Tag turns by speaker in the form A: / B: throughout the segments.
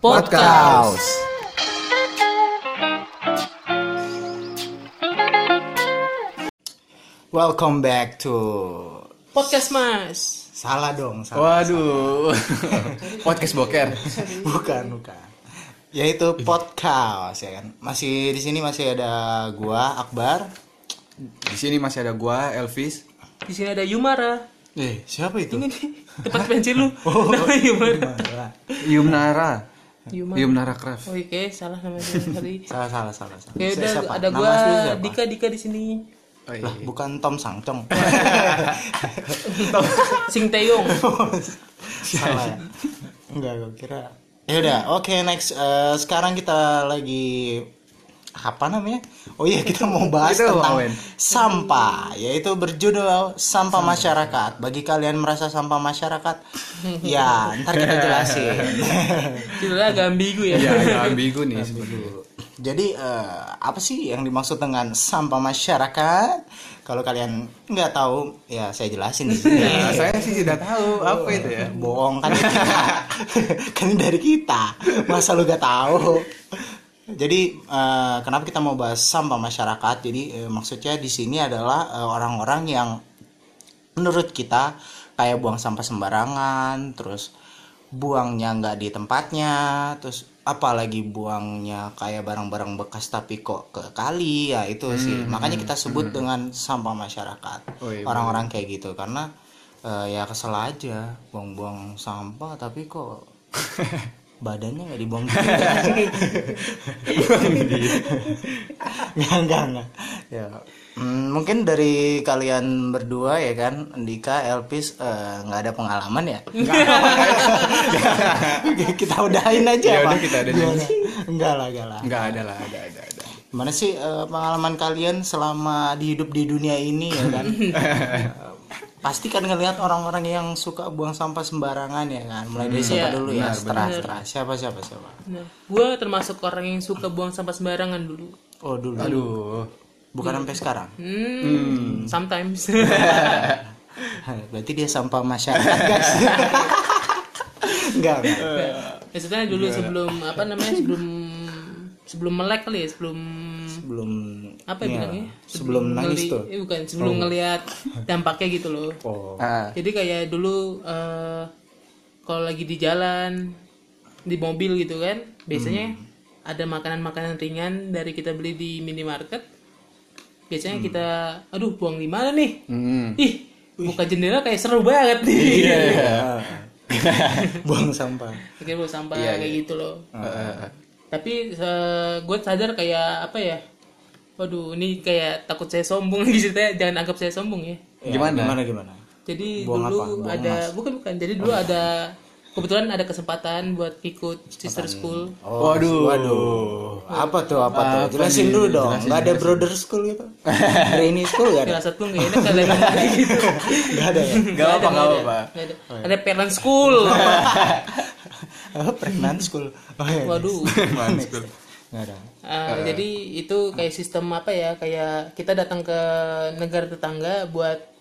A: Podcast.
B: Welcome back to
A: Podcast Mas.
B: salah dong salah.
A: Waduh. Podcast boker.
B: bukan bukan yaitu podcast ya kan masih di sini masih ada gua Akbar
A: Di sini masih ada gua Elvis.
C: Di sini ada Yumara.
B: eh siapa itu
C: Ini nih, tempat pensil lu. Namanya Yumara.
A: Yumnara.
C: Yumara. Oh,
A: Yumnara Craft.
C: Oke, salah namanya tadi.
B: salah salah salah, salah.
C: Oke, Ya udah
B: Siapa?
C: ada
B: Nama
C: gua
B: asli siapa?
C: Dika Dika di sini.
A: Oh, iya.
B: lah bukan Tom Sangcong
C: Sing Taeyong.
B: salah ya? enggak gua kira ya udah oke next Eh, sekarang kita lagi apa namanya oh iya kita mau bahas
A: Kita mau
B: tentang
A: ngapain?
B: sampah yaitu berjudul sampah, masyarakat bagi kalian merasa sampah masyarakat ya ntar kita jelasin
C: Judulnya agak ambigu ya.
A: Iya, agak ambigu nih sebenarnya.
B: Jadi eh, apa sih yang dimaksud dengan sampah masyarakat? Kalau kalian nggak tahu, ya saya jelasin di sini.
A: Ya, saya sih tidak tahu apa itu ya.
B: Bohong kan kita. kan ini dari kita. Masa lu gak tahu? Jadi eh, kenapa kita mau bahas sampah masyarakat? Jadi eh, maksudnya di sini adalah eh, orang-orang yang menurut kita kayak buang sampah sembarangan, terus buangnya nggak di tempatnya, terus apalagi buangnya kayak barang-barang bekas tapi kok ke kali ya itu sih. Makanya kita sebut dengan sampah masyarakat.
A: Oh, iya,
B: orang-orang kayak gitu karena eh, ya kesel aja buang-buang sampah tapi kok badannya nggak dibuang gitu, juga. Nggak, nggak, nggak. Ya. Hmm, mungkin dari kalian berdua ya kan, Dika, Elpis eh, nggak ada pengalaman ya? kita udahin aja
A: Ya
B: apa?
A: udah, kita udahin
B: Gimana? Enggak lah, enggak lah.
A: Enggak ada lah, ada ada ada.
B: Gimana sih eh, pengalaman kalian selama di hidup di dunia ini ya kan? Eh, Pasti kan ngelihat orang-orang yang suka buang sampah sembarangan ya kan. Mulai dari siapa
C: Iya,
B: dulu ya? Setelah, setelah. Siapa siapa siapa?
C: Nah, gua termasuk orang yang suka buang sampah sembarangan dulu.
B: Oh, dulu.
A: Aduh.
B: Bukan sampai sekarang.
C: Hmm, sometimes.
B: Hah, Berarti dia sampah masyarakat, guys. Enggak. enggak.
C: Maksudnya dulu sebelum apa namanya? Sebelum sebelum melek kali ya, sebelum
B: Sebelum
C: apa ya bilangnya
B: Iya, sebelum
C: ngeli-
B: nangis tuh.
C: eh, bukan sebelum ngelihat dampaknya gitu loh
B: Oh.
A: Ah,
C: jadi kayak dulu eh, kalau lagi di jalan di mobil gitu kan
B: Hmm.
C: biasanya ada makanan-makanan ringan dari kita beli di minimarket biasanya
B: Hmm.
C: kita aduh buang di mana nih
A: Hmm.
C: ih buka jendela kayak seru banget nih
B: Iya, Buang sampah.
C: akhirnya buang sampah
A: Iya,
C: kayak
A: iya.
C: gitu loh
A: Eh,
C: tapi gue sadar kayak apa ya waduh ini kayak takut saya sombong gitu ya jangan anggap saya sombong ya
B: Ya,
A: Gimana?
B: Gimana gimana?
C: jadi
B: Buang
C: dulu
B: apa? Buang
C: ada bukan bukan jadi
A: Oh.
C: dulu ada kebetulan ada kesempatan buat ikut sister school
B: Oh,
A: Waduh.
B: Waduh. Apa tuh apa,
A: Apa
B: tuh? Jelasin
A: nih?
B: dulu dong.
A: Jelasin,
B: Enggak ada brother school gitu. Granny school enggak ada.
C: firasat gue nggak enak kalau emang kayak gitu
B: Enggak ada ya.
A: Gak apa-apa, gak
C: ada,
A: apa-apa.
C: nggak ada. ada parent school
B: Oh, pregnant school. Oh, iya.
C: waduh
A: Mantul.
B: Enggak ada.
C: Ah, jadi itu kayak sistem apa ya kayak kita datang ke negara tetangga buat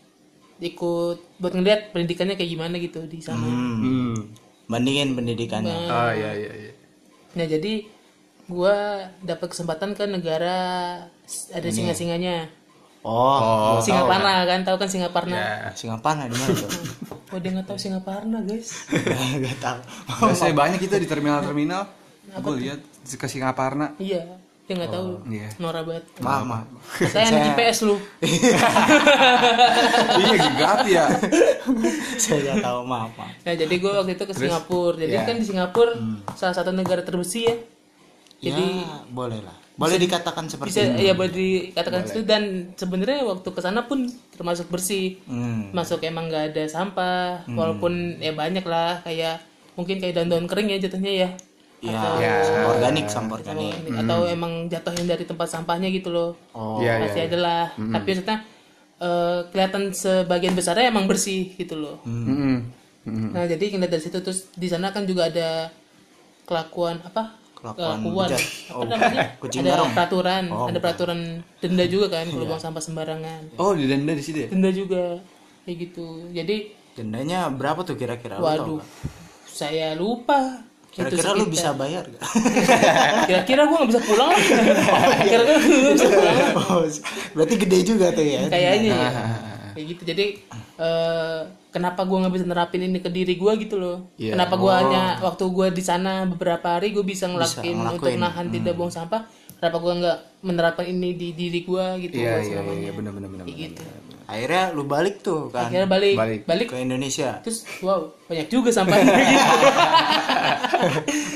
C: ikut buat ngeliat pendidikannya kayak gimana gitu di sana
A: Hmm.
B: Bandingin pendidikannya.
A: Ah, iya iya iya.
C: Nah jadi gua dapat kesempatan ke negara s- ada singa-singanya.
B: Oh.
A: Oh,
C: singa parna kan tahu kan singa parna?
A: ya.
B: Singapura di mana tuh?
C: Oh dia nggak tahu singa parna guys.
B: Enggak tahu.
A: Biasanya banyak itu di terminal-terminal. Gue lihat ke Singaparna.
C: iya dia nggak tahu.
A: iya.
C: Norak banget.
B: Mama.
C: Katanya anak IPS lu.
A: Iya, gegap ya.
B: Saya nggak tahu mama.
C: Nah jadi gua waktu itu ke Singapura. Jadi
A: Iya.
C: kan di Singapura salah satu negara terbesi ya.
B: Jadi Ya, boleh lah. Boleh dikatakan seperti
C: Bisa ya boleh dikatakan itu dan sebenarnya waktu ke sana pun termasuk bersih.
B: Hmm.
C: Masuk emang nggak ada sampah. Walaupun ya banyak lah kayak mungkin kayak daun-daun kering ya jatuhnya ya.
B: Ya,
A: Ya.
B: sampah organik, sampah organik.
C: Ini, atau emang jatuhin dari tempat sampahnya gitu loh
B: Oh,
A: Iya,
C: pasti
A: iya.
C: ada lah tapi maksudnya eh, kelihatan sebagian besarnya emang bersih gitu loh
A: Heeh.
C: nah jadi ngeliat dari situ terus di sana kan juga ada kelakuan apa Eh,
B: Kelakuan bejat.
C: apa namanya
B: kucing
C: ada
B: garong. Oh, Iya.
C: peraturan ada peraturan denda juga kan kalau buang sampah sembarangan
A: Oh, didenda di situ ya?
C: denda juga kayak gitu jadi
B: Dendanya berapa tuh kira-kira? Lu tahu
C: waduh
B: nggak?
C: saya lupa Gitu
B: Kira-kira lu bisa bayar gak?
C: kira-kira gue nggak bisa pulang lah kira-kira gue nggak bisa pulang lah.
B: Oh, Berarti gede juga tuh ya.
C: kayaknya ya kayak gitu jadi eh, kenapa gue nggak bisa nerapin ini ke diri gue gitu loh
B: Iya.
C: kenapa
A: Oh.
C: gue hanya waktu gue di sana beberapa hari gue bisa ngelakuin untuk nahan tidak
A: Hmm.
C: buang sampah kenapa gue nggak menerapkan ini di diri gue gitu
A: Iya
C: gua
A: iya
C: selama-
A: iya benar benar benar.
C: kayak gitu
B: Akhirnya lu balik tuh kan
C: akhirnya balik
A: Balik.
C: balik,
B: ke Indonesia.
C: terus wow banyak juga sampahnya gitu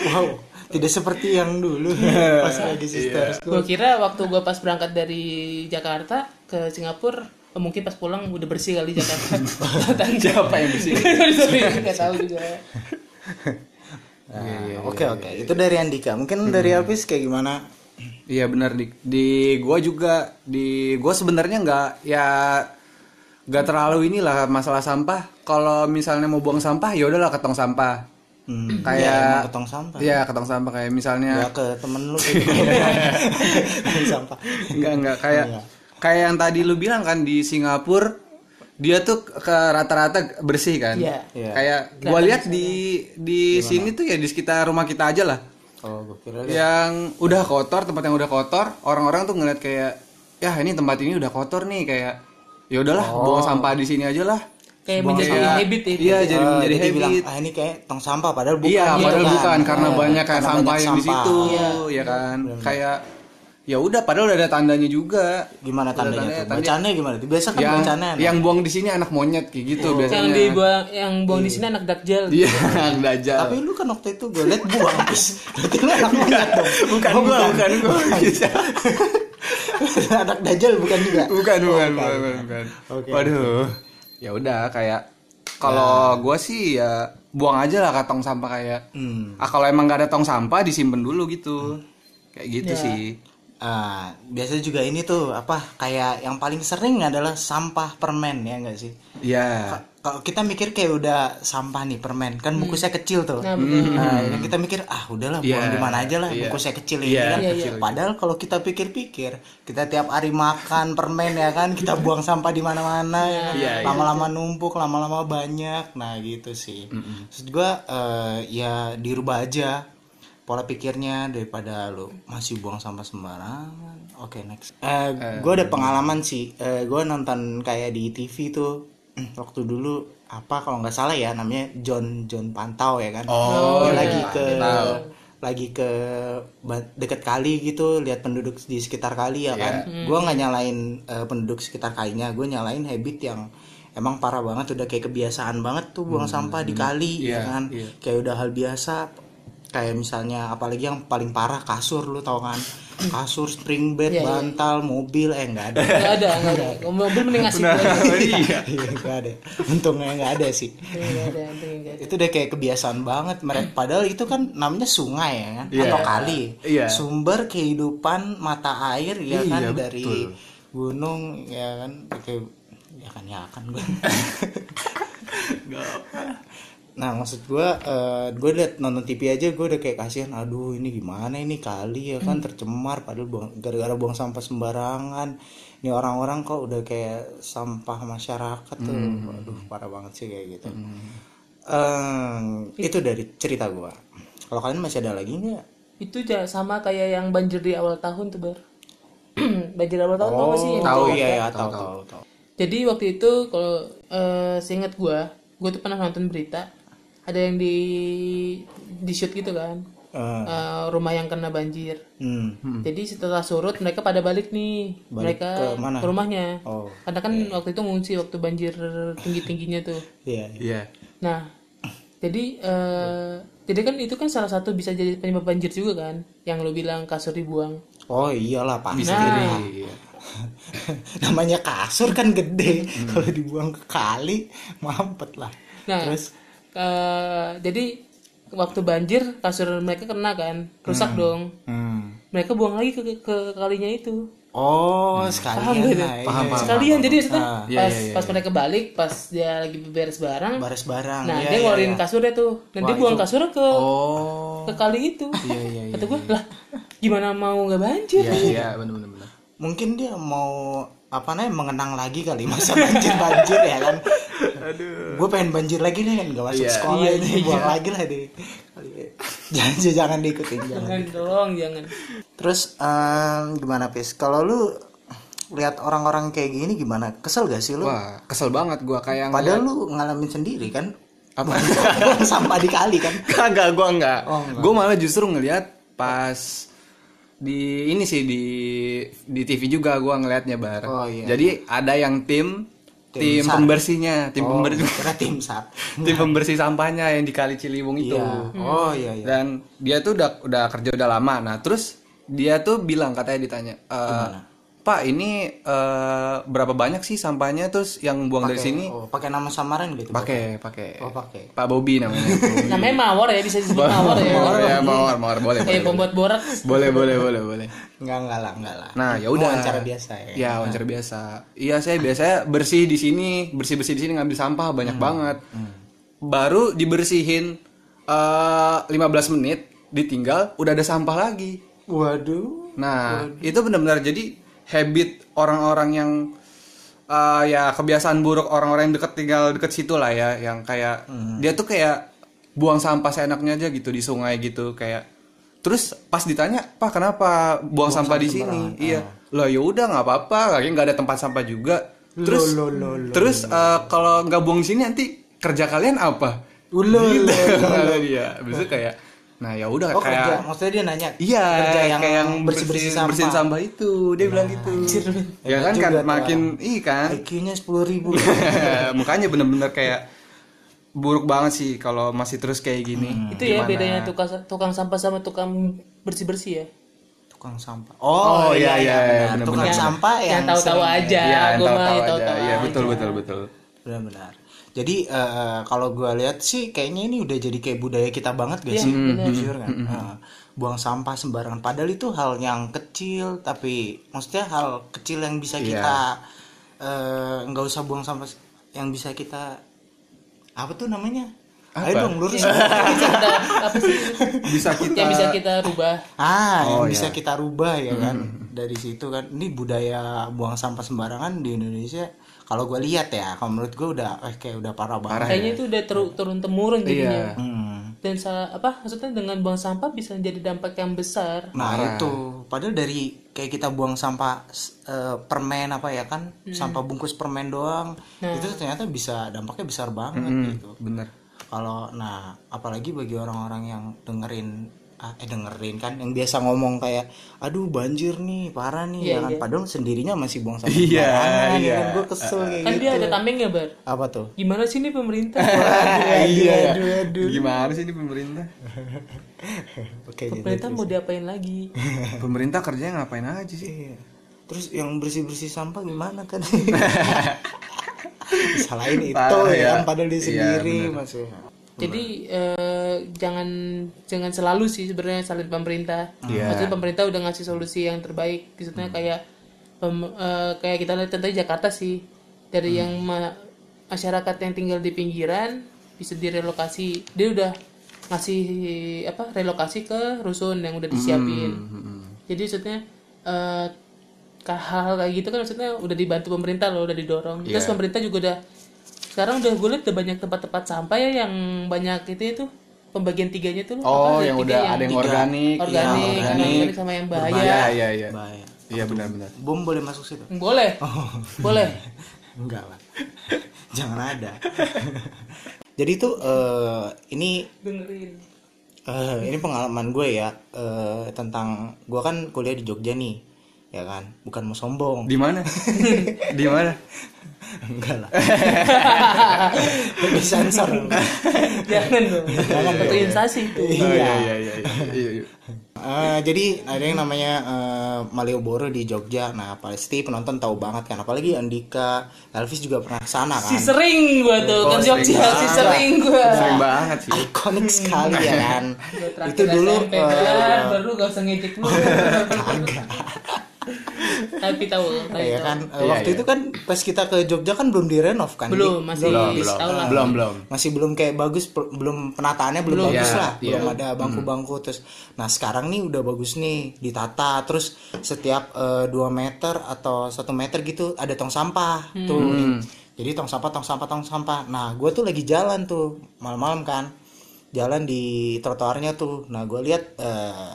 B: Wow, tidak seperti yang dulu
A: Iya.
B: pas lagi sisters.
C: gue kira waktu gue pas berangkat dari Jakarta ke Singapura eh, mungkin pas pulang udah bersih kali Jakarta Tante.
A: Siapa yang bersih?
C: sorry sorry nggak tahu juga
B: Nah,
A: Iya,
B: Oke oke, itu dari Andika.
A: Hmm.
B: Mungkin dari Alvis kayak gimana?
A: Iya benar di di gua juga di gua sebenarnya nggak ya nggak terlalu inilah masalah sampah. Kalau misalnya mau buang sampah ya udahlah ke tong sampah.
B: Hmm,
A: Kayak-
B: ya, emang ketong sampah.
A: Iya ke tong sampah kayak misalnya
B: Ya ke temen lu sampah.
A: Enggak enggak kayak
B: Iya.
A: kayak yang tadi lu bilang kan di Singapura dia tuh ke rata-rata bersih kan.
C: Iya.
B: Iya.
A: Kayak gua lihat di di sini tuh ya di sekitar rumah kita aja lah.
B: Oh, gue kira
A: Yang udah kotor, tempat yang udah kotor, orang-orang tuh ngeliat kayak ya ini tempat ini udah kotor nih kayak ya udahlah buang sampah di sini aja lah.
C: kayak menjadi
A: Kayak-
C: habit ya
A: Iya, jadi
B: Oh,
A: menjadi
B: Oh. jadi
A: habit.
B: bilang ah ini kayak tong sampah padahal bukan.
A: Iya,
B: gitu
A: padahal
B: kan.
A: bukan karena
B: Iya,
A: banyak kan
B: karena
A: sampah
B: banyak
A: yang di
B: sampah.
A: situ,
C: Iya.
A: ya kan. Kayak ya udah padahal udah ada tandanya juga.
B: Gimana
A: Udah Ya,
B: tandanya
A: tandanya-
B: tuh? Bacaannya gimana tuh? Biasa kan
A: yang
B: bacaannya. nah.
A: yang buang di sini anak monyet kayak gitu
C: Iya. yang
A: biasanya.
B: Iya.
C: dibuang yang buang di sini anak dakjal
A: Iya, anak dajal.
B: Tapi lu kan waktu itu gue liat buang terus. Berarti lu anak monyet dong. Oh,
A: bukan gua, bukan gua.
B: iya. anak dajal bukan juga. Oh,
A: bukan, Oh, bukan, bukan, bukan, bukan.
B: Oke.
A: Waduh. Ya udah kayak kalau gua sih ya buang aja lah ke tong sampah kayak.
B: Hmm.
A: Ah kalau emang gak ada tong sampah disimpan dulu gitu. Kayak gitu sih.
B: Ah, biasanya juga ini tuh apa kayak yang paling sering adalah sampah permen ya enggak sih?
A: Iya.
B: Kalau kita mikir kayak udah sampah nih permen, kan buku saya kecil tuh.
C: Nah,
B: Nah, yang kita mikir ah udahlah buang
A: Hmm. Iya,
B: di mana aja lah
A: iya.
B: buku saya kecil ini
A: Iya,
B: kan.
A: Iya, kecil.
B: Padahal kalau kita pikir-pikir, kita tiap hari makan permen ya kan, kita buang sampah di mana-mana ya kan.
A: Iya, iya.
B: Lama-lama numpuk, lama-lama banyak. Nah, gitu sih. Maksud gua eh, ya dirubah aja pola pikirnya daripada lu masih buang sampah sembarangan. Oke, next. Eh, gua ada pengalaman sih. Eh, gua nonton kayak di TV tuh waktu dulu apa kalau nggak salah ya namanya John John Pantau ya kan
A: Oh,
B: dia
A: iya.
B: lagi ke lagi ke ba- deket kali gitu lihat penduduk di sekitar kali ya
A: Iya.
B: kan
C: Hmm.
B: gue nggak nyalain eh, penduduk sekitar kalinya gue nyalain habit yang emang parah banget udah kayak kebiasaan banget tuh buang sampah di kali ya
A: Iya,
B: kan
A: iya.
B: kayak udah hal biasa kayak misalnya apalagi yang paling parah kasur lu tau kan kasur spring bed
C: Iya, iya.
B: bantal mobil eh nggak ada
C: nggak ada nggak ada mobil mending ngasih
A: Nah,
C: gue
A: iya.
B: Iya, nggak ada untungnya nggak ada sih
C: nggak ada untungnya
A: gitu.
C: nggak ada.
B: itu udah kayak kebiasaan banget mereka padahal itu kan namanya sungai ya kan
A: Iya.
B: atau kali
A: Iya.
B: sumber kehidupan mata air ya kan
A: Iya,
B: dari
A: betul.
B: gunung ya kan Oke, ya kan ya kan gue nah maksud gue gue liat nonton TV aja gue udah kayak kasihan aduh ini gimana ini kali ya kan tercemar padahal buang- gara-gara buang sampah sembarangan ini orang-orang kok udah kayak sampah masyarakat tuh aduh parah banget sih kayak gitu Eh, itu dari cerita gue kalau kalian masih ada lagi nggak
C: itu ja- sama kayak yang banjir di awal tahun tuh bar banjir awal tahun tau gak sih Yang
B: tahu
C: di
B: iya
C: Jakarta?
B: ya tahu tahu tahu
C: jadi waktu itu kalau eh, seingat gue gue tuh pernah nonton berita ada yang di di shoot gitu kan
B: Eh,
C: Eh, rumah yang kena banjir
B: hmm.
C: jadi setelah surut mereka pada balik nih mereka
B: ke mana?
C: rumahnya
B: oh
C: karena kan waktu itu ngungsi waktu banjir tinggi tingginya tuh
B: iya iya.
A: Iya.
C: Nah, jadi eh, jadi kan itu kan salah satu bisa jadi penyebab banjir juga kan, yang lo bilang kasur dibuang.
B: oh iyalah pak
A: Bisa
C: Nah.
A: jadi. Iya.
B: namanya kasur kan gede
A: Hmm.
B: kalau dibuang ke kali mampet lah
C: Nah,
B: terus
C: eh, jadi waktu banjir kasur mereka kena kan, rusak dong.
B: hmm.
C: Mereka buang lagi ke, ke, ke kalinya itu.
B: oh
C: Paham gak?
B: sekalian lah
C: tuh?
B: ya.
A: Hmm. Paham, paham.
C: Sekalian jadi maksudnya
B: Ah,
A: iya,
C: pas,
A: iya, iya.
C: pas mereka balik, pas dia lagi beres barang,
B: baris barang
C: nah
B: Iya,
C: dia
B: iya,
C: ngeluarin
B: iya.
C: kasurnya tuh, dan dia
B: Wah,
C: buang
B: itu-
C: kasurnya ke
B: oh
C: ke kali itu.
B: Iya, iya, iya,
C: Kata gua, lah gimana mau nggak banjir?
A: Iya, iya, benar benar benar.
B: mungkin dia mau apa namanya mengenang lagi kali masa banjir banjir ya kan
A: Aduh.
B: gue pengen banjir lagi nih kan gak masuk
A: Iya.
B: sekolah ini buang lagi lah deh Kali- ya. jangan jangan diikutin jangan.
C: jangan tolong jangan
B: Terus em, gimana Pis? Kalau lu lihat orang-orang kayak gini gimana? Kesel gak sih lu?
A: Wah, kesel banget gua kayak
B: Padahal lu ngalamin sendiri kan? Apa? Sampah dikali kan?
A: Kagak, gua enggak.
B: Oh,
A: Gua malah justru ngelihat pas di ini sih di di TV juga gua ngelihatnya bar.
B: Oh, iya.
A: Jadi ada yang tim tim,
B: sar.
A: pembersihnya, tim
B: Oh,
A: pembersih
B: kira tim sar.
A: tim pembersih sampahnya yang di Kali Ciliwung itu.
B: Iya. Oh iya iya.
A: Dan dia tuh udah udah kerja udah lama. Nah, terus dia tuh bilang katanya ditanya, "Eh, "Pak, ini eh, berapa banyak sih sampahnya terus yang buang dari sini?"
B: Oh, pakai nama samaran gitu.
A: Pakai, pakai.
B: Oh, pakai.
A: Pak Bobby namanya.
C: namanya mawar ya bisa disebut mawar ya
A: Iya. Mawar, ya, mawar, mawar boleh.
C: eh
A: boleh.
C: pembuat borak
A: Boleh, boleh, boleh, boleh.
B: Enggak enggak lah, enggak lah.
A: Nah, ya udah.
B: Wawancara biasa ya.
A: Ya, wawancara biasa. Iya, saya biasanya bersih di sini, bersih-bersih di sini ngambil sampah banyak
B: Hmm.
A: banget. Baru dibersihin eh 15 menit, ditinggal udah ada sampah lagi.
B: Waduh.
A: Nah, itu benar-benar jadi habit orang-orang yang eh, ya kebiasaan buruk orang-orang yang deket tinggal deket situ lah ya, yang kayak dia tuh kayak buang sampah seenaknya aja gitu di sungai gitu kayak. Terus pas ditanya, "Pak, kenapa buang, sampah di sini?" Iya. Lah ya udah nggak apa-apa, kayaknya nggak ada tempat sampah juga. Terus
B: Lo, lo, lo, lo.
A: terus eh, kalau nggak buang di sini nanti kerja kalian apa?
B: Ulo.
A: Gitu.
B: ulo.
A: Kata dia. Habis itu kayak nah ya udah
B: Oh,
A: kayak
B: kerja. Maksudnya dia nanya.
A: Iya,
B: kerja yang,
A: kayak yang
B: bersih-bersih
A: bersihin- bersihin
B: sampah.
A: sampah itu. Dia bilang gitu. ya kan
B: Juga
A: kan
B: tuh
A: makin iya kan.
B: IQ-nya 10.000 ribu.
A: Makanya bener-bener kayak buruk banget sih kalau masih terus kayak gini.
C: itu ya bedanya tukang tukang sampah sama tukang bersih bersih ya
B: Tukang sampah. Oh,
A: iya, iya, iya,
B: benar.
A: bener-bener.
B: Tukang sampah ya, yang,
C: yang tahu-tahu
B: sering-
C: aja
A: Iya,
C: gua mah
A: tahu-tahu
C: yang
A: aja. Iya, betul betul betul.
B: Benar-benar. Jadi eh, kalau gue lihat sih kayaknya ini udah jadi kayak budaya kita banget guys sih? Jujur kan. Eh, buang sampah sembarangan. Padahal itu hal yang kecil tapi maksudnya hal kecil yang bisa kita eh, nggak usah buang sampah yang bisa kita apa tuh namanya? Ayo dong lurus.
C: Kita- apa sih
A: Bisa kita
C: yang bisa kita rubah
B: Ah,
A: Oh,
B: yang bisa kita rubah ya kan dari situ kan. Ini budaya buang sampah sembarangan di Indonesia. Kalau gue lihat ya, kalau menurut gue udah eh kayak udah parah banget.
C: kayaknya itu udah teru- turun temurun jadinya
A: Ah, Iya.
B: Hmm.
C: dan salah apa maksudnya dengan buang sampah bisa jadi dampak yang besar
B: Nah itu padahal dari kayak kita buang sampah s- eh, permen apa ya kan
C: Hmm.
B: sampah bungkus permen doang
C: Nah.
B: itu tuh ternyata bisa dampaknya besar banget
A: Hmm.
B: gitu.
A: bener.
B: Kalau nah apalagi bagi orang-orang yang dengerin ah, eh dengerin kan yang biasa ngomong kayak aduh banjir nih
C: Iya,
B: parah nih ya kan padahal sendirinya masih buang sampah
A: Iya,
B: sembarangan, ya
A: iya.
B: kan? Gua kesel kayak
C: kan
B: gitu.
C: dia ada tameng ya bar
B: Apa tuh?
C: gimana sih ini pemerintah
A: Iya. Gimana sih ini pemerintah?
B: Oke. jadi-
C: pemerintah mau diapain lagi
A: pemerintah kerjanya ngapain aja sih?
B: Iya. Terus yang bersih-bersih sampah gimana kan? Salahin itu
A: Parah ya.
B: ya, kan, padahal dia
A: Iya,
B: sendiri ya. maksudnya.
C: jadi eh, jangan jangan selalu sih sebenarnya salin pemerintah
A: Iya.
C: maksudnya pemerintah udah ngasih solusi yang terbaik maksudnya kayak pem- eh, kayak kita lihat contohnya Jakarta sih dari yang ma- masyarakat yang tinggal di pinggiran bisa direlokasi dia udah ngasih apa relokasi ke rusun yang udah disiapin jadi maksudnya eh, ke- hal-hal kayak gitu kan maksudnya udah dibantu pemerintah loh udah didorong
A: Iya.
C: terus pemerintah juga udah sekarang udah gue liat udah banyak tempat-tempat sampah ya yang banyak itu itu pembagian tiganya tuh loh,
A: Oh,
C: apa, tiga ya?
A: yang udah ada yang organik,
C: organik, yang
A: iya,
C: organik,
A: organik.
C: sama yang
A: Iya,
C: bahaya
A: iya, iya.
B: Bahaya.
A: Iya benar-benar.
B: Bom boleh masuk situ?
C: boleh
A: Oh.
C: boleh
B: Enggak lah. Jangan ada. Jadi itu eh, ini
C: dengerin
B: eh, ini pengalaman gue ya eh, tentang gue kan kuliah di Jogja nih ya kan bukan mau sombong
A: Di mana? Di mana?
B: enggak lah di sensor
C: jangan dong jangan sensasi itu
A: Oh, iya, iya, iya, iya. Iya, iya.
B: Eh, jadi ada yang namanya eh, Malioboro di Jogja. Nah, pasti penonton tahu banget kan. Apalagi Andika, Elvis juga pernah ke sana
C: si
B: kan.
C: sering gue tuh kan
A: sering
C: Jogja si
A: banget.
C: sering gue
A: Sering banget sih.
B: Ikonik sekali ya kan. Itu dulu
C: kan.
B: eh,
C: baru gak usah ngejek lu Iya, tapi tahu tapi
B: ya
C: tahu.
B: kan. Eh, waktu itu kan pas kita ke Jogja kan belum direnov
C: Iya,
B: kan.
C: belum masih
A: Belum, belum.
C: tahu lah
A: Belum, belum.
B: masih belum kayak bagus per- belum penataannya belum, bagus
A: Iya,
B: lah
A: iya. Hmm.
B: belum ada bangku-bangku terus nah sekarang nih udah bagus nih ditata terus setiap eh, 2 meter atau satu meter gitu ada tong sampah tuh
A: Hmm.
B: jadi tong sampah tong sampah tong sampah nah gue tuh lagi jalan tuh malam-malam kan jalan di trotoarnya tuh nah gue lihat eh,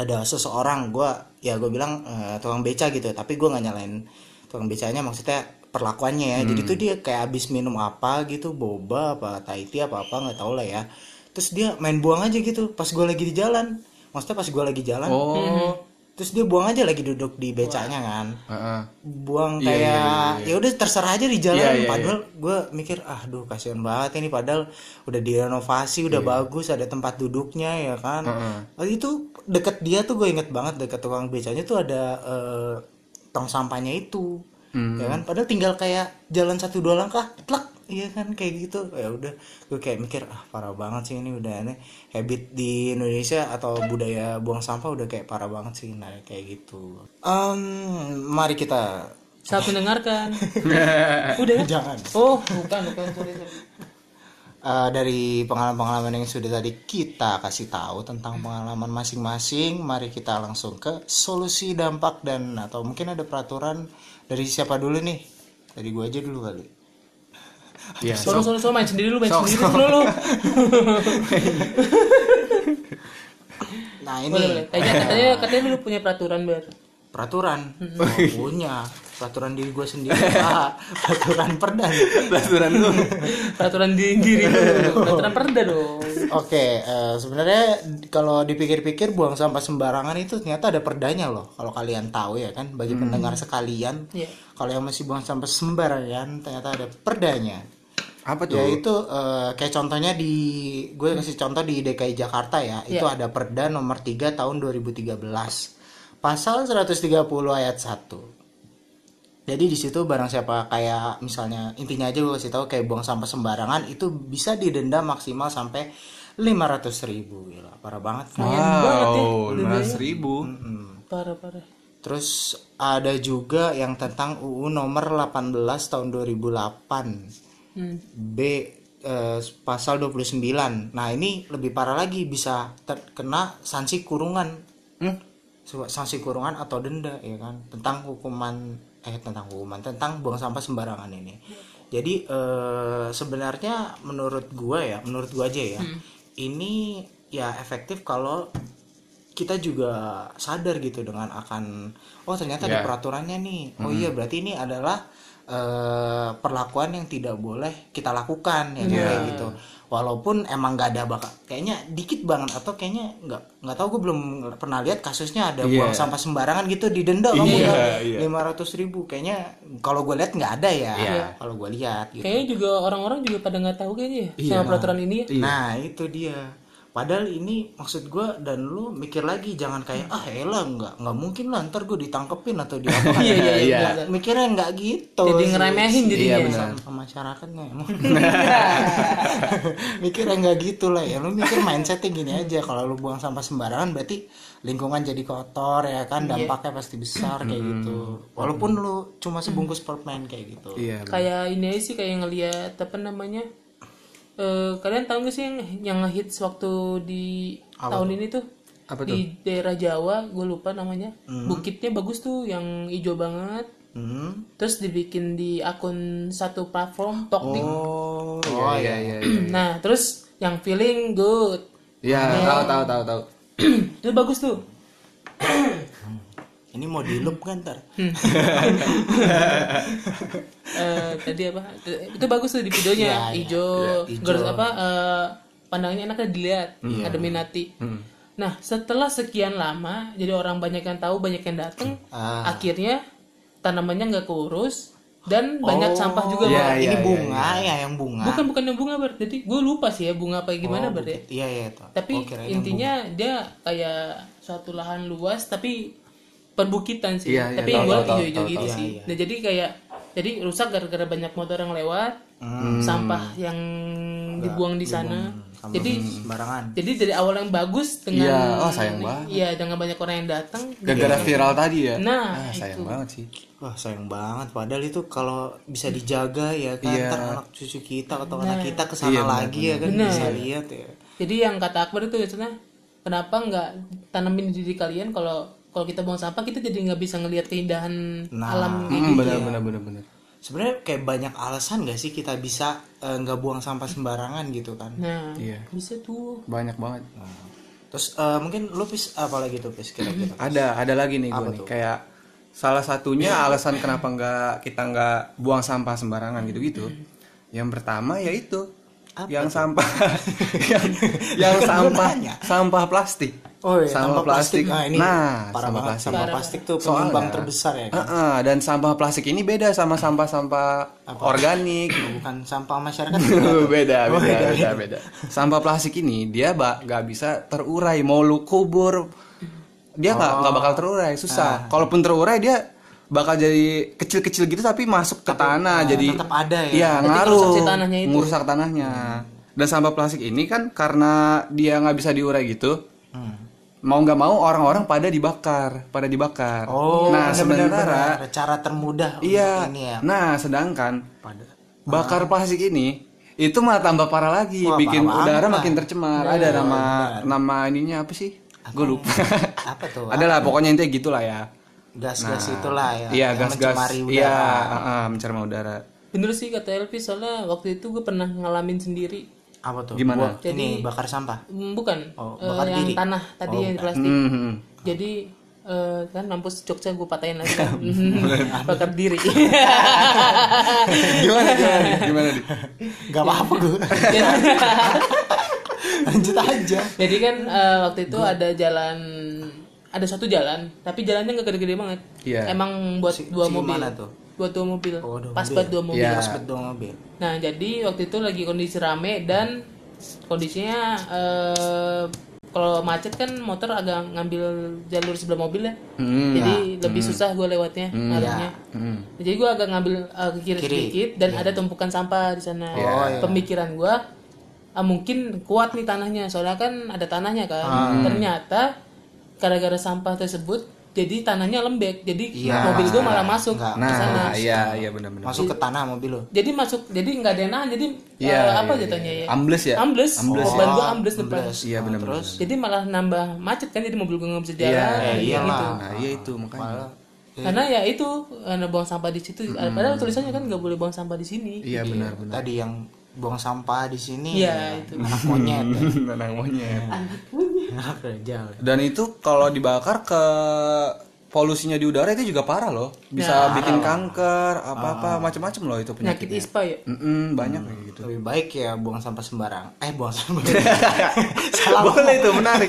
B: ada seseorang gue ya gue bilang eh, tukang beca gitu tapi gue nggak nyalain tukang becanya maksudnya perlakuannya ya jadi
A: Hmm.
B: tuh dia kayak abis minum apa gitu boba apa taiti apa apa nggak tau lah ya terus dia main buang aja gitu pas gue lagi di jalan maksudnya pas gue lagi jalan
A: Oh.
B: terus dia buang aja lagi duduk di becanya kan
A: Heeh.
B: buang
A: Iya,
B: kayak
A: iya,
B: ya udah terserah aja di jalan
A: Iya, iya,
B: padahal gue mikir ah duh kasihan banget ini padahal udah direnovasi udah bagus ada tempat duduknya ya kan Waktu itu deket dia tuh gue inget banget deket tukang becanya tuh ada eh, tong sampahnya itu ya kan padahal tinggal kayak jalan satu dua langkah plak iya kan kayak gitu ya udah gue kayak mikir ah parah banget sih ini udah aneh habit di Indonesia atau budaya buang sampah udah kayak parah banget sih nah kayak gitu Em, mari kita
C: Saat mendengarkan. Udah ya?
B: Eh. jangan
C: Oh, bukan, bukan. Sorry, sorry.
B: Eh, dari pengalaman-pengalaman yang sudah tadi kita kasih tahu tentang pengalaman masing-masing mari kita langsung ke solusi dampak dan atau mungkin ada peraturan dari siapa dulu nih dari gue aja dulu kali Eh,
A: Iya.
C: Solo, solo, solo. Main sendiri lu, main
A: Sok,
C: sendiri lu, lu.
B: nah ini
C: Boleh, boleh. Tadi katanya, katanya lu punya peraturan, Ber.
B: peraturan Wah, punya peraturan diri gue sendiri ah, peraturan perda nih.
A: Peraturan lu.
C: Peraturan di diri lu. Peraturan perda dong.
B: oke eh, sebenarnya kalau dipikir-pikir buang sampah sembarangan itu ternyata ada perdanya loh kalau kalian tahu ya kan bagi pendengar sekalian
C: Iya.
B: kalau yang masih buang sampah sembarangan ternyata ada perdanya
A: Apa tuh?
B: yaitu eh, kayak contohnya di gue kasih contoh di DKI Jakarta ya itu ada Perda nomor 3 tahun 2013 pasal 130 ayat 1 jadi di situ barang siapa kayak misalnya intinya aja gue kasih tahu kayak buang sampah sembarangan itu bisa didenda maksimal sampai 500.000 ribu Gila, parah banget
A: Nah, Wow, lima ribu.
C: Parah, parah.
B: Terus ada juga yang tentang UU nomor 18 tahun 2008.
C: Hmm.
B: B eh, pasal 29. Nah, ini lebih parah lagi bisa terkena sanksi kurungan. Su- Sanksi kurungan atau denda ya kan tentang hukuman eh tentang hukuman tentang buang sampah sembarangan ini. Jadi eh, sebenarnya menurut gua ya, menurut gua aja ya. Ini ya efektif kalau kita juga sadar gitu dengan akan oh ternyata ada
A: Ya.
B: peraturannya nih oh iya berarti ini adalah eh, perlakuan yang tidak boleh kita lakukan ya
C: Iya.
B: kayak gitu walaupun emang nggak ada bakal kayaknya dikit banget atau kayaknya nggak nggak tahu gue belum pernah lihat
C: Iya.
B: kasusnya ada buang sampah sembarangan gitu didenda kamu
A: Iya, iya.
B: lima ratus ribu kayaknya kalau gue lihat nggak ada ya
A: Iya.
B: kalau gue lihat gitu Iya.
C: Kayaknya juga orang-orang juga pada nggak tahu kayaknya ya sama peraturan ini ya.
B: Nah, itu dia. Padahal ini maksud gua dan lu mikir lagi jangan kayak ah elah nggak nggak mungkin lah ntar gue ditangkepin atau diapa
C: Iya, iya, iya.
B: Nggak- mikirnya nggak gitu
C: Jadi
B: sih.
C: ngeremehin jadinya.
B: Iya, sama masyarakatnya emang. mikirnya nggak gitu lah ya lu mikir mindsetnya gini aja kalau lu buang sampah sembarangan berarti lingkungan jadi kotor ya kan dampaknya pasti besar kayak gitu walaupun lu cuma sebungkus permen kayak gitu
A: Iya.
C: kayak ini aja sih kayak ngeliat apa namanya Eh, kalian tahu gak sih yang yang ngehits waktu di tahun ini tuh
A: Apa Mm-hmm.
C: di daerah Jawa gue lupa namanya bukitnya bagus tuh yang hijau banget
B: Hmm.
C: terus dibikin di akun satu platform Toktik
A: Oh, oh iya iya. iya.
C: nah terus yang feeling good
A: Iya, tahu tahu tahu tahu.
C: itu bagus tuh
B: ini mau dilup kan ntar
C: Eh, tadi apa itu bagus tuh di
A: Iya,
C: videonya hijau garis apa eh, pandangannya enaknya dilihat
A: Hmm.
C: ada minati nah setelah sekian lama jadi orang banyak yang tahu banyak yang datang
B: Ah.
C: akhirnya tanamannya nggak keurus dan
B: Oh,
C: banyak sampah juga
A: iya,
C: Bang.
A: iya.
B: ini bunga ya yang bunga
C: bukan bukan yang bunga ber jadi gue lupa sih ya bunga apa
A: Oh,
C: gimana ber ya
B: Iya iya itu.
C: tapi
B: Oh, kirain yang
C: intinya dia kayak suatu lahan luas tapi perbukitan sih
A: Iya, iya,
C: tapi
A: tahu,
C: yang gue
A: tahu, tahu,
C: hijau-hijau
A: tahu,
C: gitu
B: tahu.
C: sih
B: Iya, iya.
C: nah jadi kayak jadi rusak gara-gara banyak motor yang lewat
A: Hmm.
C: sampah yang dibuang di sana
B: sampah
C: jadi
B: sembarangan.
C: jadi dari awal yang bagus dengan
A: Iya, oh, sayang banget.
C: iya dengan banyak orang yang datang
A: Gara-gara viral tadi ya.
C: nah
A: Ah, sayang banget sih.
B: Wah sayang banget. Padahal itu kalau bisa dijaga ya kan.
A: Iya.
B: Ntar anak cucu kita atau anak kita kesana lagi ya kan bisa lihat ya.
C: Jadi yang kata Akbar itu maksudnya kenapa nggak tanamin di diri kalian
A: Nah.
C: kalau kalau kita buang sampah kita jadi nggak bisa ngelihat keindahan alam
A: Iya.
C: gitu ya.
A: Hmm, benar benar benar benar.
B: sebenarnya kayak banyak alasan gak sih kita bisa eh, nggak buang sampah sembarangan gitu kan
C: Nah,
A: Iya.
C: bisa tuh.
A: banyak banget
B: terus eh, mungkin lu pis apa lagi tuh pis kira-kira
A: Hmm. ada ada lagi nih gue nih kayak salah satunya alasan kenapa nggak kita nggak buang sampah sembarangan gitu gitu yang pertama yaitu yang sampah yang, yang
B: Kan gua
A: sampah
B: nanya.
A: sampah plastik
B: Oh iya,
A: sampah plastik,
B: Nah, ini
A: nah
B: parah
A: sampah
B: banget.
A: plastik
B: Sampah plastik tuh penyumbang
A: Soalnya-
B: terbesar ya. Kan?
A: Heeh, dan sampah plastik ini beda sama sampah-sampah organik
B: Bukan sampah masyarakat.
A: beda,
B: Oh,
A: beda,
B: beda,
A: beda, beda. Sampah plastik ini dia bak nggak bisa terurai, mau lu kubur dia nggak nggak bakal terurai,
B: Ah.
A: susah. Kalaupun terurai dia bakal jadi kecil-kecil gitu tapi masuk ke tanah, jadi
B: tetap ada ya.
A: Iya,
C: Berarti
A: ngaruh,
C: ngerusak si tanahnya itu.
A: ngerusak tanahnya. Dan sampah plastik ini kan karena dia nggak bisa diurai gitu,
B: Hmm.
A: mau nggak mau orang-orang pada dibakar, pada dibakar.
B: Oh,
A: nah
B: benar-benar
A: sementara
B: cara termudah untuk
A: iya,
B: ini ya.
A: nah sedangkan
B: Pada
A: bakar plastik ini itu malah tambah parah lagi
B: Ah. Wah,
A: bikin
B: parah
A: udara
B: banget. Iya,
A: makin tercemar ada nama nama ininya apa sih gue lupa
B: apa tuh?
A: ada lah pokoknya intinya gitulah ya
B: Gas-gas itulah ya.
A: iya
B: yang
A: gas-gas
B: mencemari
A: iya
B: udara.
A: heeh, mencemari udara
C: Bener sih kata Elvi soalnya waktu itu gue pernah ngalamin sendiri.
B: Apa tuh?
A: Gimana?
B: Buat ini bakar sampah.
C: Hmm, Bukan
B: Oh,
C: eh,
B: bakar Oh,
C: yang
B: diri.
C: tanah tadi yang plastik.
A: Hmm, hmm.
C: Jadi eh, kan mampus Jogja gue patahin lagi. Bakar diri.
A: gimana gimana gimana Di?
B: Gak apa-apa gue. Lanjut aja.
C: Jadi kan eh, waktu itu ada jalan ada satu jalan, tapi jalannya nggak gede-gede banget.
A: Iya.
C: Emang buat dua
B: si
C: mobil.
B: gimana tuh?
C: Buat dua mobil.
B: Oh, dua
C: Pas
B: mobil.
C: buat dua mobil.
A: Iya.
B: Gas bet dong mobil.
C: Nah, jadi waktu itu lagi kondisi rame dan kondisinya eh, kalau macet kan motor agak ngambil jalur sebelah mobil ya.
A: Hmm,
C: jadi lebih susah gue lewatnya arahnya.
A: hmm.
C: Jadi gue agak ngambil eh, ke kiri,
B: Kiri.
C: sedikit dan ada tumpukan sampah di sana.
B: Oh,
A: ya.
B: iya.
C: Pemikiran gue ah, mungkin kuat nih tanahnya, soalnya kan ada tanahnya kan.
A: Ah. Hmm.
C: Ternyata gara-gara sampah tersebut jadi tanahnya lembek, jadi mobil gue malah masuk
B: Nggak.
C: ke sana.
A: Iya. nah iya iya benar-benar
B: Masuk ke tanah mobil lo.
C: Jadi masuk, jadi nggak ada yang nahan, jadi
A: Iya,
C: eh, apa
A: iya,
C: jatuhnya
A: iya.
C: ya?
A: Ambles ya?
C: Ambles.
A: Ambles
C: Ban gua ambles depan.
A: iya benar-benar
C: Jadi malah nambah macet kan, jadi mobil gua nggak bisa jalan.
A: iya
C: kayak
A: iya
C: gitu.
A: nah iya itu makanya
C: Karena ya itu, karena buang sampah di situ. Padahal tulisannya kan nggak boleh buang sampah di sini.
A: iya benar-benar
B: Tadi yang buang sampah di sini.
C: Iya, itu.
B: Anak monyet.
A: Anak monyet
B: Iya. Anak kerja.
A: Dan itu kalau dibakar ke polusinya di udara itu juga parah loh. Bisa bikin kanker, apa-apa macam-macam loh itu
C: Penyakit
A: penyakitnya.
C: ispa ya.
A: Mm-mm, banyak kayak gitu.
B: Lebih baik ya buang sampah sembarang. Eh buang sampah. salah
A: Boleh itu menarik.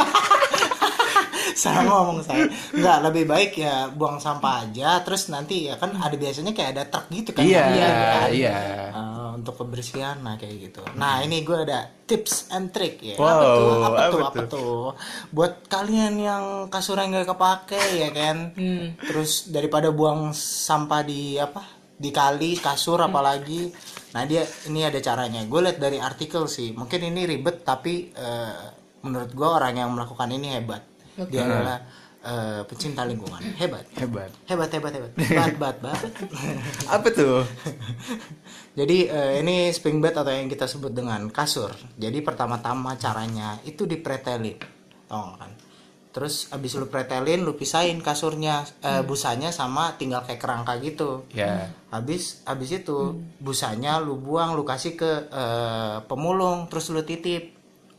B: salah ngomong saya nggak lebih baik ya buang sampah aja terus nanti ya kan ada biasanya kayak ada truk gitu kan
A: iya,
B: Iya, kan?
A: iya.
B: Eh, untuk kebersihan nah kayak gitu nah ini gue ada tips and trick ya
A: Wow,
B: apa tuh apa,
A: apa
B: tuh apa tuh buat kalian yang kasurnya nggak kepake ya kan terus daripada buang sampah di apa di kali kasur apalagi nah dia ini ada caranya gue lihat dari artikel sih mungkin ini ribet tapi eh, menurut gue orang yang melakukan ini hebat dia adalah eh, pecinta lingkungan hebat
A: Hebat.
B: hebat hebat hebat hebat hebat banget
A: Apa tuh?
B: jadi eh, ini spring bed atau yang kita sebut dengan kasur jadi pertama-tama caranya itu dipretelin tau nggak kan terus abis lu pretelin lu pisahin kasurnya eh, busanya sama tinggal kayak kerangka gitu
A: Ya.
B: habis habis itu
C: Hmm.
B: busanya lu buang lu kasih ke eh, pemulung terus lu titip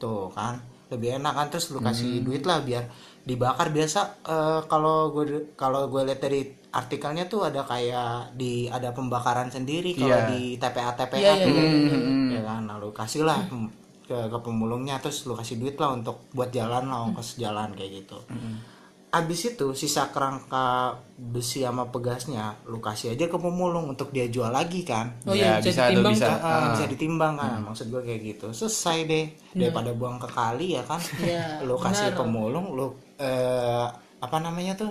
B: tuh kan lebih enak kan terus lu kasih
C: Hmm.
B: duit lah biar dibakar biasa eh, kalau gue kalau gue lihat dari artikelnya tuh ada kayak di ada pembakaran sendiri kalau
A: Iya.
B: di TPA TPA
C: Iya, iya,
B: tuh
C: iya,
B: ya kan nah, lu kasih lah pem- ke, ke pemulungnya terus lu kasih duit lah untuk buat jalan lah ongkos jalan kayak gitu Abis itu sisa kerangka besi sama pegasnya lu kasih aja ke pemulung untuk dia jual lagi kan.
C: Oh iya, bisa
A: Ya, bisa tuh,
C: ditimbang
A: bisa.
C: kan?
B: Ah, bisa ditimbang kan. Maksud gue kayak gitu. Selesai deh daripada buang ke kali ya kan.
C: Iya,
B: lu kasih
C: benar.
B: pemulung lu eh, apa namanya tuh?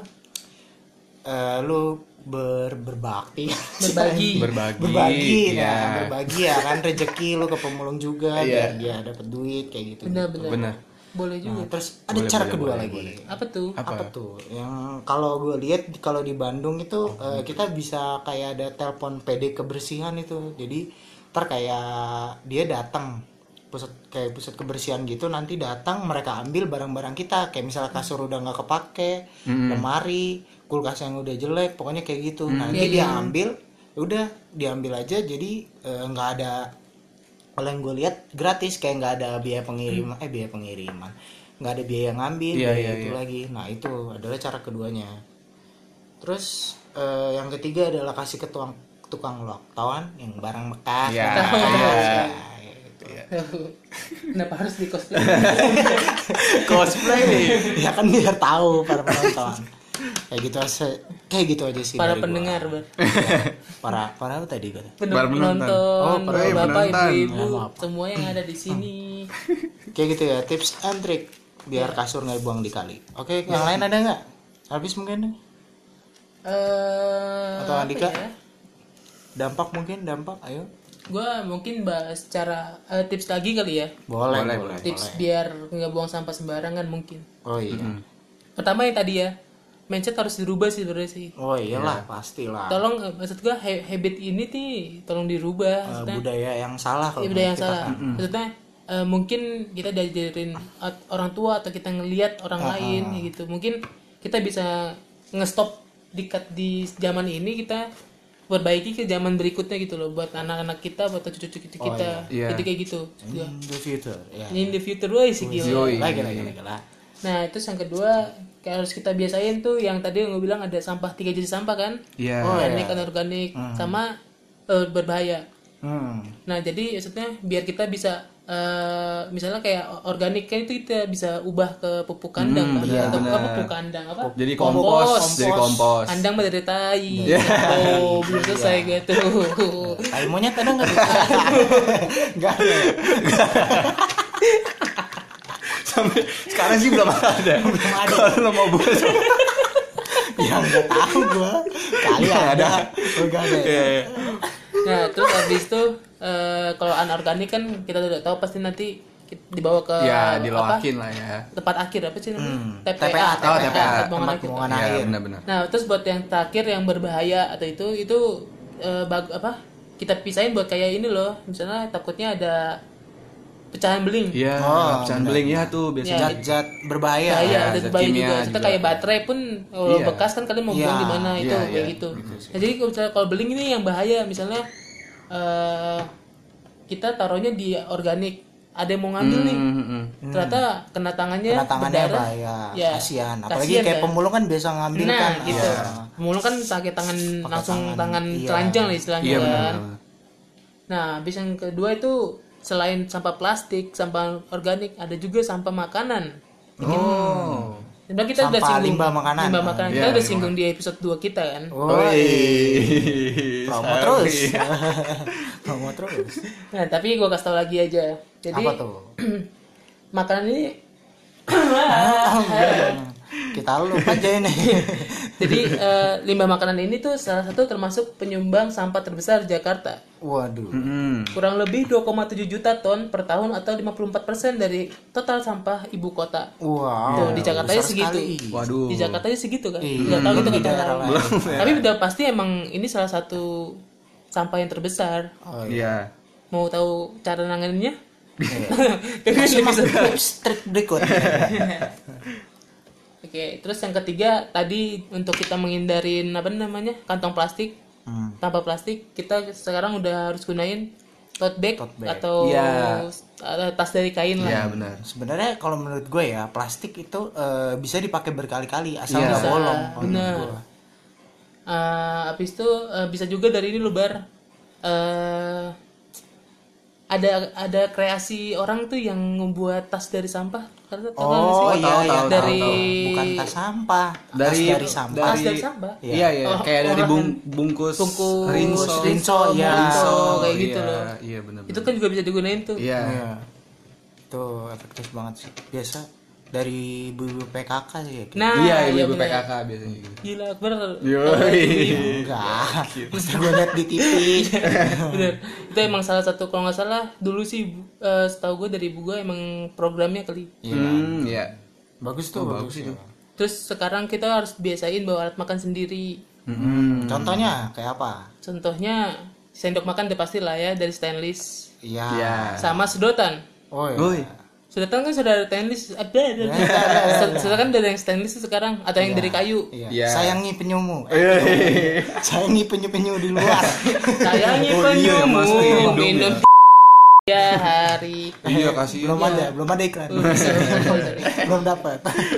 B: Eh, lu ber- berbakti
C: Berbagi.
A: Berbagi,
B: berbagi ya
A: iya.
B: berbagi ya kan rezeki lu ke pemulung juga biar dia dapat duit kayak gitu
C: Benar-benar.
A: Benar.
C: Boleh juga.
B: Nah, terus ada cara kedua lagi
C: Apa tuh?
B: apa? tuh yang kalau gue lihat kalau di Bandung itu eh, kita bisa kayak ada telepon PD kebersihan itu jadi ntar kayak dia datang pusat kayak pusat kebersihan gitu nanti datang mereka ambil barang-barang kita kayak misalnya kasur udah nggak Hmm. Hmm. kepake lemari kulkas yang udah jelek pokoknya kayak gitu nanti Nah, dia ambil udah diambil aja jadi eh, nggak ada kalau yang gue lihat gratis kayak nggak ada biaya pengiriman eh biaya pengiriman nggak ada biaya ngambil
A: Iya,
B: biaya
A: iya,
B: itu
A: iya.
B: lagi nah itu adalah cara keduanya terus eh, yang ketiga adalah kasih ke tuang, tukang loktawan yang barang bekas Nah,
A: Iya.
B: barang bekas. Ya, itu.
C: Kenapa harus di cosplay?
A: Cosplay
B: ya kan biar tahu para penonton kayak gitu se- kayak gitu aja sih
C: Para
B: dari gua.
C: pendengar, Bar.
B: para para apa tadi gue
C: Pen-
A: Para penonton.
C: penonton,
A: Oh, para
C: bapak,
A: penonton. Iya,
C: ibu-ibu,
B: Ya, maaf.
C: semua yang ada di sini.
B: kayak gitu ya tips and trick
C: Iya.
B: biar kasur nggak buang di kali oke yang lain ada nggak habis mungkin
C: Eh,
B: Atau
C: apa
B: Andika?
C: ya?
B: dampak mungkin dampak ayo
C: Gua mungkin bahas cara eh, tips lagi kali ya.
B: boleh boleh,
A: Boleh,
C: Tips biar nggak buang sampah sembarangan mungkin.
B: oh iya
C: Pertama yang tadi ya, mindset harus dirubah sih sebenarnya sih.
B: oh iyalah pastilah
C: Tolong eh, maksud gua ha- habit ini nih tolong dirubah.
B: Eh,
C: Maksudnya,
B: budaya yang salah kalau
C: ya udah yang
B: menurut
C: salah. Maksudnya eh, mungkin kita diajarin at- orang tua atau kita ngelihat
A: Ah,
C: orang lain gitu. Mungkin kita bisa ngestop di kat- di zaman ini kita perbaiki ke zaman berikutnya gitu loh buat anak-anak kita buat cucu-cucu kita
A: iya.
C: gitu kayak gitu maksud
B: kita.
C: gua.
B: in the future ya
C: in the future way sih gila
A: Yoi.
B: lagi lagi lagi lah
C: Nah, terus yang kedua kayak harus kita biasain tuh yang tadi yang gue bilang ada sampah tiga jenis sampah kan?
A: Iya. Hmm.
C: Organik, anorganik, sama eh, berbahaya.
B: hmm.
C: Nah, jadi maksudnya biar kita bisa eh, misalnya kayak o- organik kan itu kita bisa ubah ke pupuk kandang kan? atau apa pupuk kandang apa?
A: Hmm, Jadi kompos, jadi kompos. Iya.
C: Kandang pada dari tai. Oh, belum selesai gitu.
B: tai monyet ada nggak nggak ada ya?
A: Sampai sekarang sih belum ada.
B: Belum ada.
A: Kalau lo mau buat
B: ya nggak tahu gua kali
A: Nggak
B: ada
A: ada.
B: nggak ada
A: Iya, iya.
C: nah, terus habis itu eh, kalau anorganik kan kita udah tahu pasti nanti kita dibawa ke apa?
A: ya diloakin lah ya.
C: tempat akhir apa sih namanya? TPA,
B: TPA,
A: Oh, TPA,
C: tempat buangan
B: tempat
C: akhir.
B: buangan
A: Iya,
B: air
A: benar-benar.
C: Nah, terus buat yang terakhir yang berbahaya atau itu itu eh, bag- apa? Kita pisahin buat kayak ini loh. Misalnya takutnya ada pecahan beling.
A: Iya,
B: Oh,
A: pecahan beling ya
C: Iya.
A: tuh biasanya.
B: zat zat berbahaya
C: Bahaya,
A: Iya,
C: ada
A: zat
C: bahaya
A: kimia
C: juga. Kita
A: juga.
C: kayak baterai pun kalau
A: Iya.
C: bekas kan kalian mau
B: Iya,
C: buang di mana itu
A: iya,
C: kayak
A: iya.
C: gitu. Nah, jadi kalau misalnya kalau beling ini yang bahaya misalnya eh, kita taruhnya di organik. Ada yang mau ngambil nih.
A: Hmm, hmm, hmm.
C: Ternyata kena tangannya,
B: kena tangannya
C: berdarah.
B: bahaya
C: Ya,
B: kasihan apalagi
C: kasihan
B: kayak
C: kan.
B: pemulung kan biasa ngambil
C: Nah,
B: kan
C: gitu.
B: Ah.
C: Pemulung kan pakai tangan langsung
B: tangan,
C: tangan,
B: iya.
C: telanjang lah istilahnya
A: Iya,
C: kan.
A: benar.
C: Nah, habis yang kedua itu selain sampah plastik, sampah organik, ada juga sampah makanan.
A: Oh.
C: Sebenarnya kita udah
B: Sampah
C: singgung
B: limbah makanan.
C: limbah makanan.
A: Iya,
C: kita udah
A: limbah.
C: singgung di episode 2 kita kan.
B: Woi, promo
A: Sorry.
B: terus. promo terus.
C: Nah, tapi gua kasih tau lagi aja. Jadi
B: Apa tuh?
C: makanan ini
B: Ah, Kita lu aja ini.
C: jadi eh, limbah makanan ini tuh salah satu termasuk penyumbang sampah terbesar Jakarta.
B: Waduh.
A: Hmm.
C: Kurang lebih 2,7 juta ton per tahun atau 54% dari total sampah ibu kota.
B: Wow.
C: Tuh, di Jakarta aja
B: besar
C: segitu.
B: sekali.
A: Waduh.
C: Di Jakarta aja segitu kan.
B: Iya,
C: Nggak tahu
B: belum
C: gitu
B: di
C: kita
B: daerah lain.
C: Tapi udah pasti emang ini salah satu sampah yang terbesar.
B: Oh, iya.
A: Iya.
C: Mau tahu cara nanganinnya? Kan
B: Simak tips trik berikut.
C: Oke, terus yang ketiga tadi untuk kita menghindari apa namanya? kantong plastik.
B: Hmm.
C: Tanpa plastik kita sekarang udah harus gunain tote bag,
B: Tote bag.
C: atau
A: Iya.
C: eh, tas dari kain lah.
A: Iya, benar.
B: Sebenarnya kalau menurut gue ya plastik itu eh, bisa dipakai berkali-kali asal nggak
A: Iya. Bisa,
B: bolong. kalau
C: benar.
B: menurut gue.
C: Eh, habis itu eh, bisa juga dari ini lubar eh ada ada kreasi orang tuh yang membuat tas dari sampah karena tau nggak sih?
B: Oh, iya,
A: tahu,
B: iya.
A: tahu,
C: dari
B: bukan tas sampah, tas
A: Dari
B: dari sampah.
C: Tas dari sampah.
A: Iya, iya.
C: Oh,
A: Kayak dari
C: olahan.
A: bung- bungkus,
C: bungkus
A: rinso.
B: rinso, iya.
C: rinso, kayak
A: Iya,
C: gitu loh
A: Iya, benar.
C: itu kan juga bisa digunain tuh
A: Iya.
B: Iya. Itu efektif banget sih. Biasa dari ibu-ibu PKK sih ya.
C: nah
A: Iya, ibu-ibu
C: bener.
A: PKK biasanya gitu. Oh, iya,
C: gila Akbar
A: Yoi.
C: Iya,
B: Enggak.
C: gitu.
B: Mesti gue liat di TV.
C: Hmm. bener Iya, itu emang salah satu kalau nggak salah dulu sih ibu- eh, setahu gue dari ibu gue emang programnya kali
A: Hmm, iya.
B: bagus tuh, bagus, itu.
C: terus sekarang kita harus biasain bawa alat makan sendiri
A: Iya.
B: Hmm. Contohnya kayak apa?
C: Contohnya sendok makan udah pasti lah ya dari stainless
B: Iya.
A: Iya. Ah,
C: sama sedotan.
B: Oh iya.
A: Woi.
C: Sedotan kan sudah ada stainless, ada ada.
A: Ya,
C: ada. Sed- Sedotan kan udah ada yang stainless sekarang atau yang dari kayu.
B: Iya.
A: Iya.
B: Sayangi penyumu. Eh, Sayangi penyu-penyu di luar.
C: Sayangnya
A: Oh, iya,
C: penyumu
A: Mas, di Indo
C: minum ya hari.
A: Iya kasih.
B: belum ada, belum ada iklan.
C: Uh, sorry, sorry, sorry.
B: belum dapat.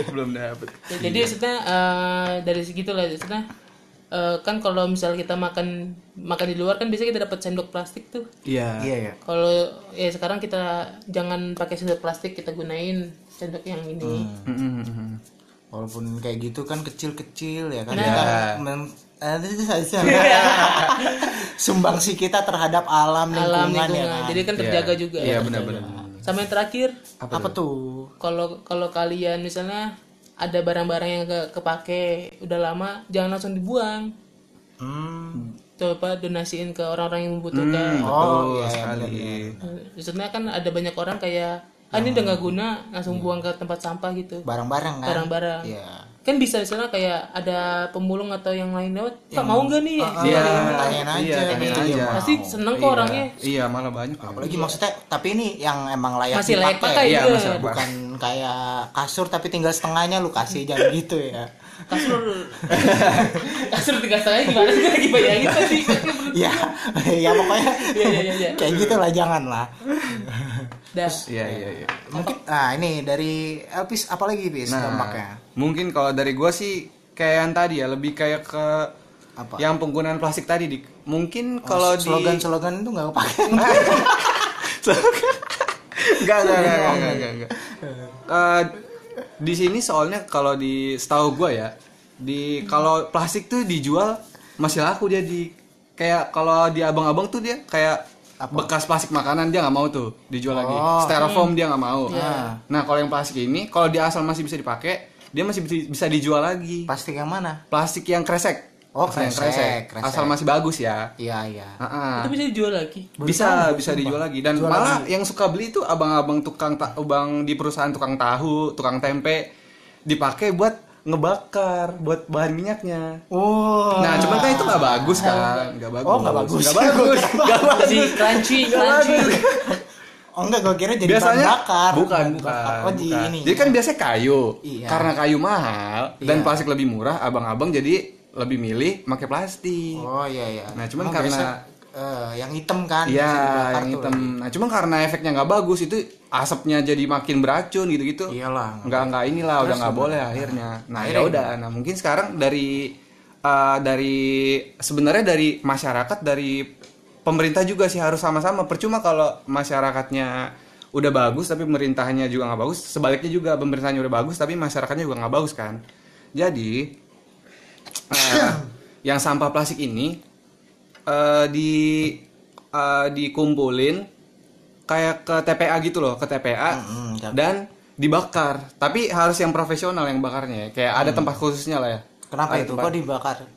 A: belum dapet.
C: Ya, jadi
A: Iya.
C: maksudnya eh, dari segitu lah maksudnya eh, kan kalau misal kita makan makan di luar kan biasanya kita dapat sendok plastik tuh
A: Iya.
B: Iya ya.
C: kalau ya sekarang kita jangan pakai sendok plastik kita gunain sendok yang
A: Hmm.
C: ini
A: Mm-mm.
B: Walaupun kayak gitu kan kecil-kecil ya kan.
A: Nah.
B: Kita men- eh, itu saja. Sumbangsi kita terhadap alam
C: alam
B: lingkungan, ya
C: lingkungan
B: kan.
C: jadi kan
A: Iya.
C: terjaga juga
A: Iya benar-benar.
C: sama yang terakhir
B: apa, tuh?
C: kalau kalau kalian misalnya ada barang-barang yang ke kepake udah lama jangan langsung dibuang
B: Hmm.
C: coba donasiin ke orang-orang yang membutuhkan Oh,
A: Betul
B: iya,
A: sekali.
C: Maksudnya kan ada banyak orang kayak ah ini udah nggak guna langsung buang ke tempat sampah gitu.
B: Barang-barang kan.
C: Barang-barang.
B: Iya.
C: Kan bisa misalnya kayak ada pemulung atau yang lain lewat, Pak mau nggak nih?
B: Tanyain
A: Iya.
B: aja,
A: Iya,
B: kan
A: tanyain
B: itu dia
A: aja.
B: mau.
C: Pasti seneng kok orangnya.
A: Iya, malah banyak.
B: Apalagi maksudnya tapi ini yang emang layak
C: Masih layak pakai
A: Iya,
C: iya.
A: masih layak
B: bukan kayak kasur tapi tinggal setengahnya lu kasih jangan gitu ya
C: Kasur kasur tiga setengah gimana sih lagi bayangin tadi.
B: ya ya pokoknya
C: Iya, iya, iya, iya.
B: kayak gitu lah jangan lah
C: Dah.
A: Iya, iya, iya.
B: mungkin nah ini dari Elvis apalagi bis
A: Nah.
B: dampaknya
A: mungkin kalau dari gua sih kayak yang tadi ya, lebih kayak ke
B: Apa? Oh,
A: yang penggunaan plastik tadi di mungkin kalau di
B: slogan slogan itu nggak kepake
A: Enggak, enggak, enggak, enggak, enggak, enggak, enggak. Eh, di sini soalnya kalau di setahu gua ya, di kalau plastik tuh dijual masih laku dia di kayak kalau di abang-abang tuh dia kayak bekas plastik makanan dia nggak mau tuh dijual lagi.
B: Oh, hmm.
A: Styrofoam dia nggak mau.
B: Iya.
A: Nah, kalau yang plastik ini kalau dia asal masih bisa dipakai, dia masih bisa- bisa dijual lagi.
B: plastik yang mana
A: Plastik yang kresek.
B: Oh,
A: Plastik yang
B: kresek, kresek.
A: Asal masih bagus ya.
B: iya iya
C: Itu
A: Heeh
C: bisa dijual lagi.
A: bisa bisa dijual lagi dan malah yang suka beli itu abang-abang tukang ta- abang di perusahaan tukang tahu tukang tempe dipakai buat ngebakar buat bahan minyaknya
B: oh
A: nah cuman kan itu nggak bagus kan nggak bagus
B: Oh, nggak bagus.
A: nggak bagus Nggak bagus.
C: Si crunchy, crunchy.
B: oh enggak gue kira jadi
A: biasanya
B: bahan bakar
A: bukan
B: Bahan
A: bukan,
B: bakar. oh di
A: bukan.
B: ini
A: jadi kan biasanya kayu
B: Iya.
A: karena kayu mahal dan plastik lebih murah abang-abang jadi lebih milih pakai plastik
B: oh iya iya
A: Nah, cuman
B: Emang
A: karena-
B: biasa, eh, yang hitam kan
A: Iya,
B: biasa dibakar
A: yang
B: tuh. ya.
A: hitam. Nah, cuman karena efeknya nggak bagus itu asapnya jadi makin beracun gitu-gitu.
B: Iyalah, nggak
A: Nggak nggak inilah udah nggak boleh akhirnya. Nah, ya udah. Nah, mungkin sekarang dari eh, dari sebenarnya dari masyarakat dari pemerintah juga sih harus sama-sama. Percuma kalau masyarakatnya udah bagus tapi pemerintahnya juga nggak bagus. Sebaliknya juga pemerintahnya udah bagus tapi masyarakatnya juga nggak bagus kan. Jadi eh, yang sampah plastik ini eh, di eh, dikumpulin kayak ke TPA gitu loh, ke TPA
B: Mm-mm, ya.
A: dan dibakar. Tapi harus yang profesional yang bakarnya, ya. kayak ada tempat khususnya lah ya.
B: Kenapa
A: Ada
B: itu?
A: tempat
B: Kok dibakar? Hmm.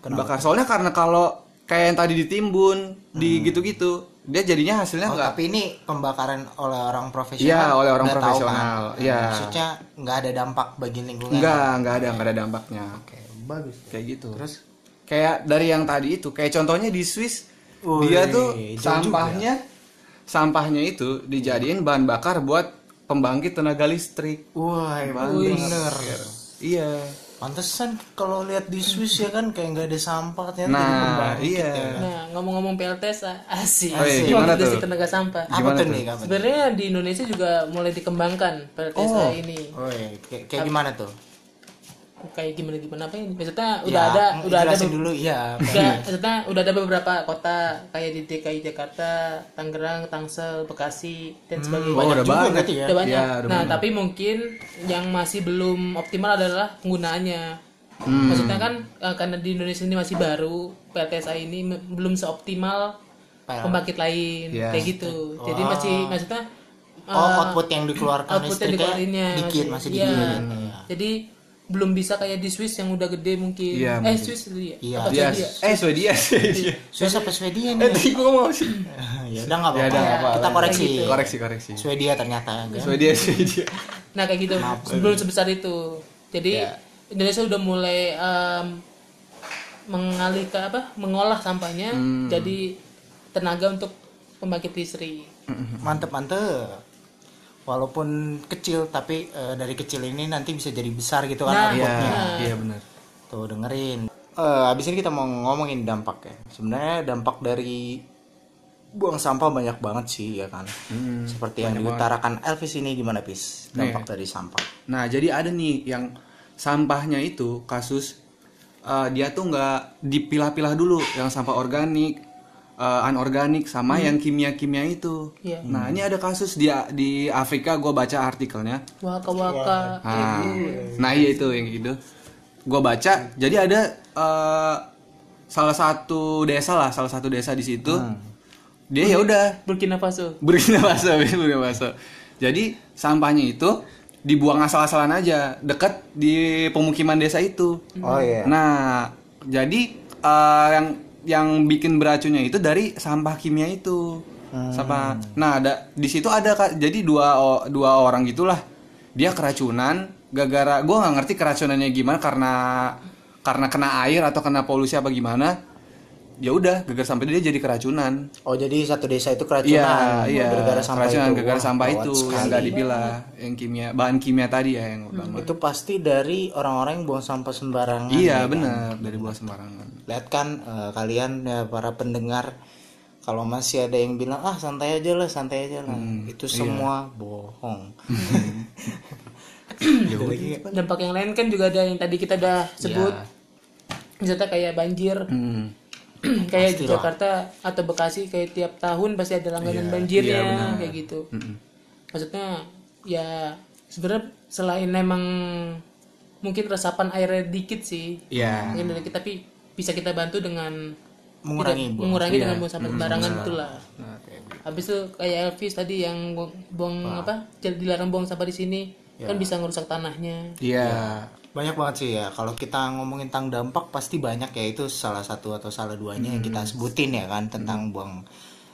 B: Kenapa?
A: dibakar. Soalnya karena kalau kayak yang tadi ditimbun, di gitu-gitu, dia jadinya hasilnya
B: Hmm. Oh,
A: enggak
B: tapi ini pembakaran oleh orang profesional.
A: Iya, oleh orang
B: udah tahu
A: profesional.
B: kan?
A: Iya.
B: Maksudnya nggak ada dampak bagi lingkungan.
A: enggak, enggak ada, enggak ada dampaknya.
B: Oke, bagus.
A: Kayak gitu.
B: Terus?
A: kayak dari yang tadi itu, kayak contohnya di Swiss,
B: Wih,
A: dia tuh
B: jauh
A: sampahnya sampahnya itu dijadiin bahan bakar buat pembangkit tenaga listrik.
B: Wah, emang bener.
A: Iya.
B: Pantesan kalau lihat di Swiss ya kan kayak nggak ada sampah ternyata jadi
A: Nah,
B: pembangkit
A: iya.
B: ya.
C: Nah, ngomong-ngomong PLTS ah, asik.
A: Oh, iya,
C: Asik.
A: gimana
C: Pembangkit
A: tuh?
C: listrik tenaga sampah.
B: Apa
A: Gimana
B: tuh
A: tuh?
B: nih kabar?
C: Sebenarnya di Indonesia juga mulai dikembangkan PLTS
A: Oh.
C: ini.
B: Oh, iya. Kayak, kayak gimana tuh?
C: kayak gimana gimana apa ini maksudnya
B: Ya,
C: udah ada udah ada
B: jelasin
C: be-
B: dulu ya.
A: Iya.
C: udah maksudnya udah ada beberapa kota kayak di DKI Jakarta, Tangerang, Tangsel, Bekasi dan sebagainya
A: Oh, udah
B: juga
A: banget
B: berarti ya?
C: Udah banyak.
A: Iya,
C: nah
A: udah banyak.
C: tapi mungkin yang masih belum optimal adalah penggunaannya
A: Hmm.
C: maksudnya kan eh, karena di Indonesia ini masih baru PLTSA ini me- belum seoptimal
B: Pil-
C: pembangkit lain
A: Ya. Iya.
C: kayak gitu jadi masih maksudnya eh,
B: Oh, output yang dikeluarkan
C: output yang
B: listriknya
C: dikeluarinnya
B: dikit masih
C: iya.
B: dikit.
C: jadi belum bisa kayak di Swiss yang udah gede mungkin
A: Iya,
C: eh
A: mungkin.
C: Swiss tadi ya
B: Iya.
C: Apa
A: Iya.
C: tadi ya?
A: Eh, Swedia sih.
B: Swiss apa Swedia
A: Eh,
B: nih?
A: tadi gua ngomong sih.
B: ya udah nggak
A: Ya udah, nggak
B: apa-apa.
A: apa-apa.
B: Kita koreksi.
A: Koreksi, koreksi.
B: Swedia ternyata. kan?
A: Swedia, Swedia.
C: nah kayak gitu belum sebesar itu jadi Indonesia udah mulai em, mengalih ke apa mengolah sampahnya jadi tenaga untuk pembangkit listrik
B: Mantep mantep. walaupun kecil tapi eh, dari kecil ini nanti bisa jadi besar gitu kan
C: Nah,
A: Iya,
B: outputnya.
A: iya benar.
B: Tuh dengerin. Eh abis ini kita mau ngomongin dampaknya. Sebenarnya dampak dari buang sampah banyak banget sih ya kan. Seperti yang diutarakan Elvis ini gimana pis? Dampak dari sampah.
A: Nah, jadi ada nih yang sampahnya itu kasus eh, dia tuh nggak dipilah-pilah dulu yang sampah organik, eh, anorganik sama yang kimia-kimia itu.
C: Iya.
A: Nah, ini ada kasus di di Afrika gue baca artikelnya.
C: waka waka
A: Ah, nah iya itu yang gitu. Gue baca, jadi ada eh, salah satu desa lah, salah satu desa di situ. Dia ya udah
C: Burkina Faso
A: Burkina Faso, Burkina Faso. Jadi sampahnya itu dibuang asal-asalan aja dekat di pemukiman desa itu.
B: Oh iya.
A: Nah, jadi eh, yang yang bikin beracunnya itu dari sampah kimia itu. Sampah. Nah, ada di situ ada Kak. jadi dua o- dua orang gitulah. Dia keracunan gara-gara gua nggak ngerti keracunannya gimana karena karena kena air atau kena polusi apa gimana. Ya udah, gara-gara sampai dia jadi keracunan.
B: Oh jadi satu desa itu
A: Iya,
B: keracunan
A: iya.
B: gara-gara sampah
A: Keracunan
B: itu.
A: gara-gara
B: Wah,
A: sampah
B: gawat
A: itu yang
B: sekali. Hmm.
A: nggak dipilah, yang kimia, bahan kimia tadi ya yang utama.
B: Itu pasti dari orang-orang yang buang sampah sembarangan. ya.
A: Iya, benar
B: kan?
A: dari buah sembarangan.
B: Lihat kan eh, kalian ya, para pendengar kalau masih ada yang bilang ah santai aja lah, santai aja lah.
A: Hmm,
B: itu
A: iya.
B: semua bohong. Ada lagi nggak?
C: dampak yang lain kan juga ada yang tadi kita udah sebut misalnya kayak banjir
A: Hmm.
C: kayak di Jakarta atau Bekasi kayak tiap tahun pasti ada langganan banjirnya kayak gitu maksudnya ya sebenarnya selain emang mungkin resapan airnya dikit sih
A: Iya.
C: mungkin dari kita tapi bisa kita bantu dengan
B: Mengurangi
C: tidak-
B: buang.
C: mengurangi dengan buang sampah sembarangan itulah habis itu kayak Elvis tadi yang buang, buang apa jadi dilarang buang sampah di sini kan bisa ngerusak tanahnya
A: Iya.
B: Banyak banget sih ya. Kalau kita ngomongin tentang dampak pasti banyak ya itu salah satu atau salah duanya yang
A: Hmm.
B: kita sebutin ya kan tentang buang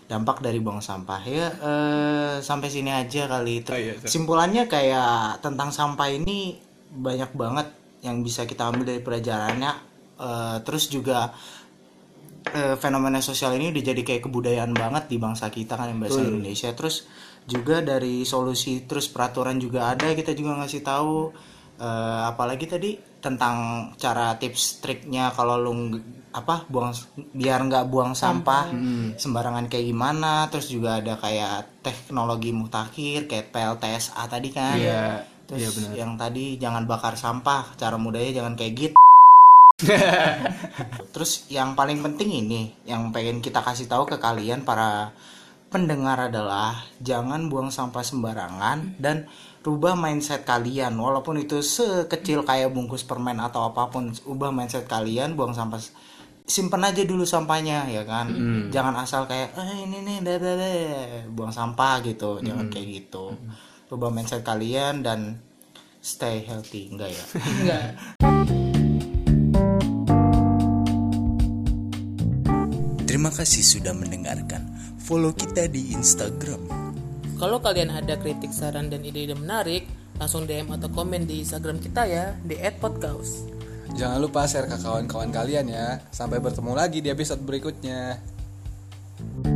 B: dampak dari buang sampah. Ya eh, sampai sini aja kali itu.
A: Oh, iya, sorry.
B: Simpulannya kayak tentang sampah ini banyak banget yang bisa kita ambil dari pelajarannya. Eh, terus juga eh, fenomena sosial ini udah jadi kayak kebudayaan banget di bangsa kita kan yang bahasa Indonesia terus juga dari solusi terus peraturan juga ada kita juga ngasih tahu eh, apalagi tadi tentang cara tips triknya kalau lu ng- apa buang biar nggak buang sampah
A: Hmm.
B: sembarangan kayak gimana terus juga ada kayak teknologi mutakhir kayak PLTSA tadi kan
A: Iya, iya
B: terus
A: benar.
B: yang tadi jangan bakar sampah cara mudahnya jangan kayak gitu Terus yang paling penting ini yang pengen kita kasih tahu ke kalian para pendengar adalah jangan buang sampah sembarangan dan rubah mindset kalian walaupun itu sekecil kayak bungkus permen atau apapun ubah mindset kalian buang sampah s- simpen aja dulu sampahnya ya kan jangan asal kayak eh ini nih dah, dah, dah," buang sampah gitu jangan kayak gitu rubah mindset kalian dan stay healthy enggak ya
C: enggak
D: Terima kasih sudah mendengarkan. Follow kita di Instagram
C: Kalau kalian ada kritik, saran, dan ide-ide menarik, langsung DM atau komen di Instagram kita ya, di @podcaus.
E: Jangan lupa share ke kawan-kawan kalian ya. Sampai bertemu lagi di episode berikutnya.